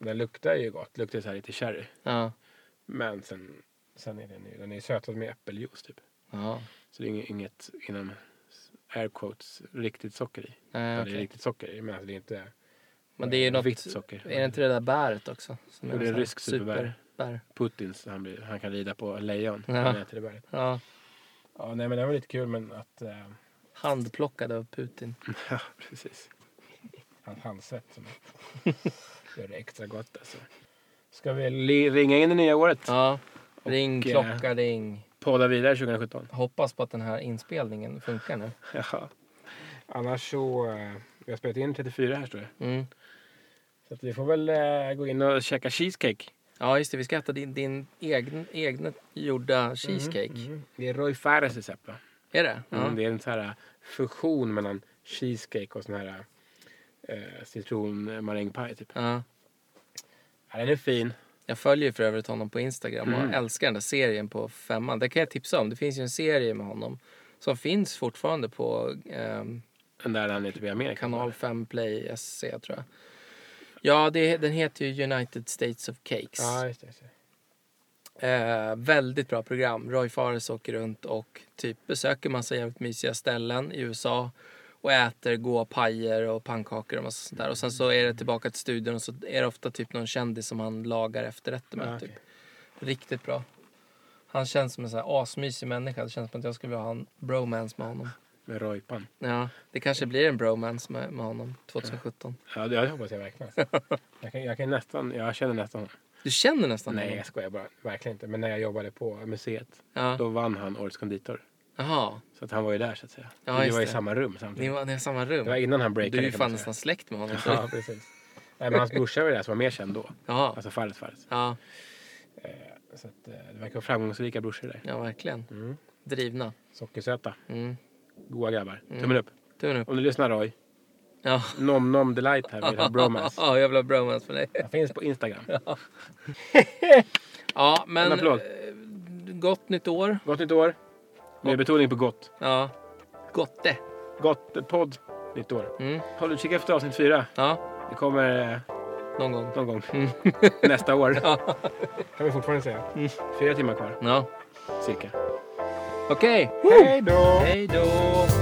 Speaker 2: Den luktar ju gott, luktar så här lite sherry.
Speaker 1: Ja.
Speaker 2: Men sen, sen är den ju, den är ju sötad med äppeljuice typ.
Speaker 1: ja.
Speaker 2: Så det är inget, inget inom air quotes riktigt socker i.
Speaker 1: Nej,
Speaker 2: Ja,
Speaker 1: okej.
Speaker 2: Det är riktigt socker i, men alltså det är inte...
Speaker 1: Men det är ju något...
Speaker 2: Vitt socker.
Speaker 1: Är det inte det där bäret också?
Speaker 2: Jo,
Speaker 1: Som
Speaker 2: det är
Speaker 1: någon sån här
Speaker 2: rysk superbär.
Speaker 1: superbär.
Speaker 2: Putins, han, blir, han kan rida på lejon.
Speaker 1: Ja.
Speaker 2: när Han äter det bäret.
Speaker 1: Ja.
Speaker 2: Ja, nej men det var lite kul men att... Eh,
Speaker 1: Handplockad av Putin.
Speaker 2: ja, precis. Hans handsvett som [laughs] gör det extra gott alltså. Ska vi li- ringa in det nya året?
Speaker 1: Ja. Ring,
Speaker 2: eh,
Speaker 1: klocka, ring.
Speaker 2: Podda vidare
Speaker 1: [laughs]
Speaker 2: 2017.
Speaker 1: Hoppas på att den här inspelningen funkar nu.
Speaker 2: Ja. Annars så... Eh, vi har spelat in 34 här står det.
Speaker 1: Mm.
Speaker 2: Så att vi får väl eh, gå in och käka cheesecake.
Speaker 1: Ja, just det. Vi ska äta din, din egen, egna gjorda cheesecake.
Speaker 2: Mm. Det är Roy Fares recept va?
Speaker 1: Är det? Ja.
Speaker 2: Mm, det är en sån här fusion mellan cheesecake och sån här eh, citronmarängpaj typ.
Speaker 1: ja.
Speaker 2: Ja, den är fin.
Speaker 1: Jag följer för övrigt honom på Instagram och
Speaker 2: Mm.
Speaker 1: älskar den där serien på femman. Det kan jag tipsa om. Det finns ju en serie med honom som finns fortfarande på ehm,
Speaker 2: Den där han är typ i Amerika.
Speaker 1: kanal 5 Play SC tror jag. Ja, det, den heter ju United States of Cakes.
Speaker 2: Ja, just det. Just det.
Speaker 1: Eh, väldigt bra program. Roy Fares åker runt och typ besöker massa jävligt mysiga ställen i USA och äter goa pajer och pannkakor och massa sånt där. Och sen så är det tillbaka till studion och så är det ofta typ någon kändis som han lagar efterrätter med.
Speaker 2: Ja,
Speaker 1: typ. Riktigt bra. Han känns som en sån här asmysig människa. Det känns som att jag skulle vilja ha en bromance med honom.
Speaker 2: Med Roypan.
Speaker 1: Ja, det kanske blir en bromance med, med honom 2017.
Speaker 2: Ja, det jag hoppas jag verkligen.
Speaker 1: [laughs]
Speaker 2: jag, kan, jag kan nästan, jag känner nästan honom.
Speaker 1: Du känner nästan
Speaker 2: Nej,
Speaker 1: honom.
Speaker 2: jag skojar bara. Verkligen inte. Men när jag jobbade på museet,
Speaker 1: Ja.
Speaker 2: då vann han Årets konditor.
Speaker 1: Jaha,
Speaker 2: Så att han var ju där så att säga.
Speaker 1: Ja,
Speaker 2: vi
Speaker 1: just
Speaker 2: var i
Speaker 1: det.
Speaker 2: samma rum
Speaker 1: ni
Speaker 2: samtidigt.
Speaker 1: var ni har samma
Speaker 2: Det var
Speaker 1: rum.
Speaker 2: innan han
Speaker 1: Du
Speaker 2: breakade.
Speaker 1: är ju
Speaker 2: kan
Speaker 1: fan
Speaker 2: man säga.
Speaker 1: nästan släkt med honom.
Speaker 2: Ja, precis. Nej, men hans brorsa var ju där som var mer känd då.
Speaker 1: Jaha.
Speaker 2: Alltså Fares Fares.
Speaker 1: Ja,
Speaker 2: Så att, eh, det verkar vara framgångsrika brorsor där.
Speaker 1: ja verkligen.
Speaker 2: Mm.
Speaker 1: Drivna.
Speaker 2: Sockersöta.
Speaker 1: Mm.
Speaker 2: Goa grabbar.
Speaker 1: Mm.
Speaker 2: Tummen upp.
Speaker 1: Tummen upp.
Speaker 2: Om du lyssnar Roy,
Speaker 1: Ja.
Speaker 2: Nom Nom Delight här vill ha bromance.
Speaker 1: [laughs] ja, jag vill ha bromance med dig.
Speaker 2: Den finns på Instagram.
Speaker 1: Ja, men...
Speaker 2: En applåd.
Speaker 1: eh, Gott nytt år.
Speaker 2: Gott nytt år. Med betoning på gott.
Speaker 1: Ja. Gotte.
Speaker 2: Gott eh, podd nytt år.
Speaker 1: Mm.
Speaker 2: Håll utkik efter avsnitt fyra.
Speaker 1: Ja,
Speaker 2: Det kommer eh,
Speaker 1: någon gång.
Speaker 2: någon gång nästa år. Kan vi fortfarande säga. Fyra timmar kvar,
Speaker 1: Ja.
Speaker 2: cirka.
Speaker 1: Okej.
Speaker 2: Hej då!
Speaker 1: Hej då.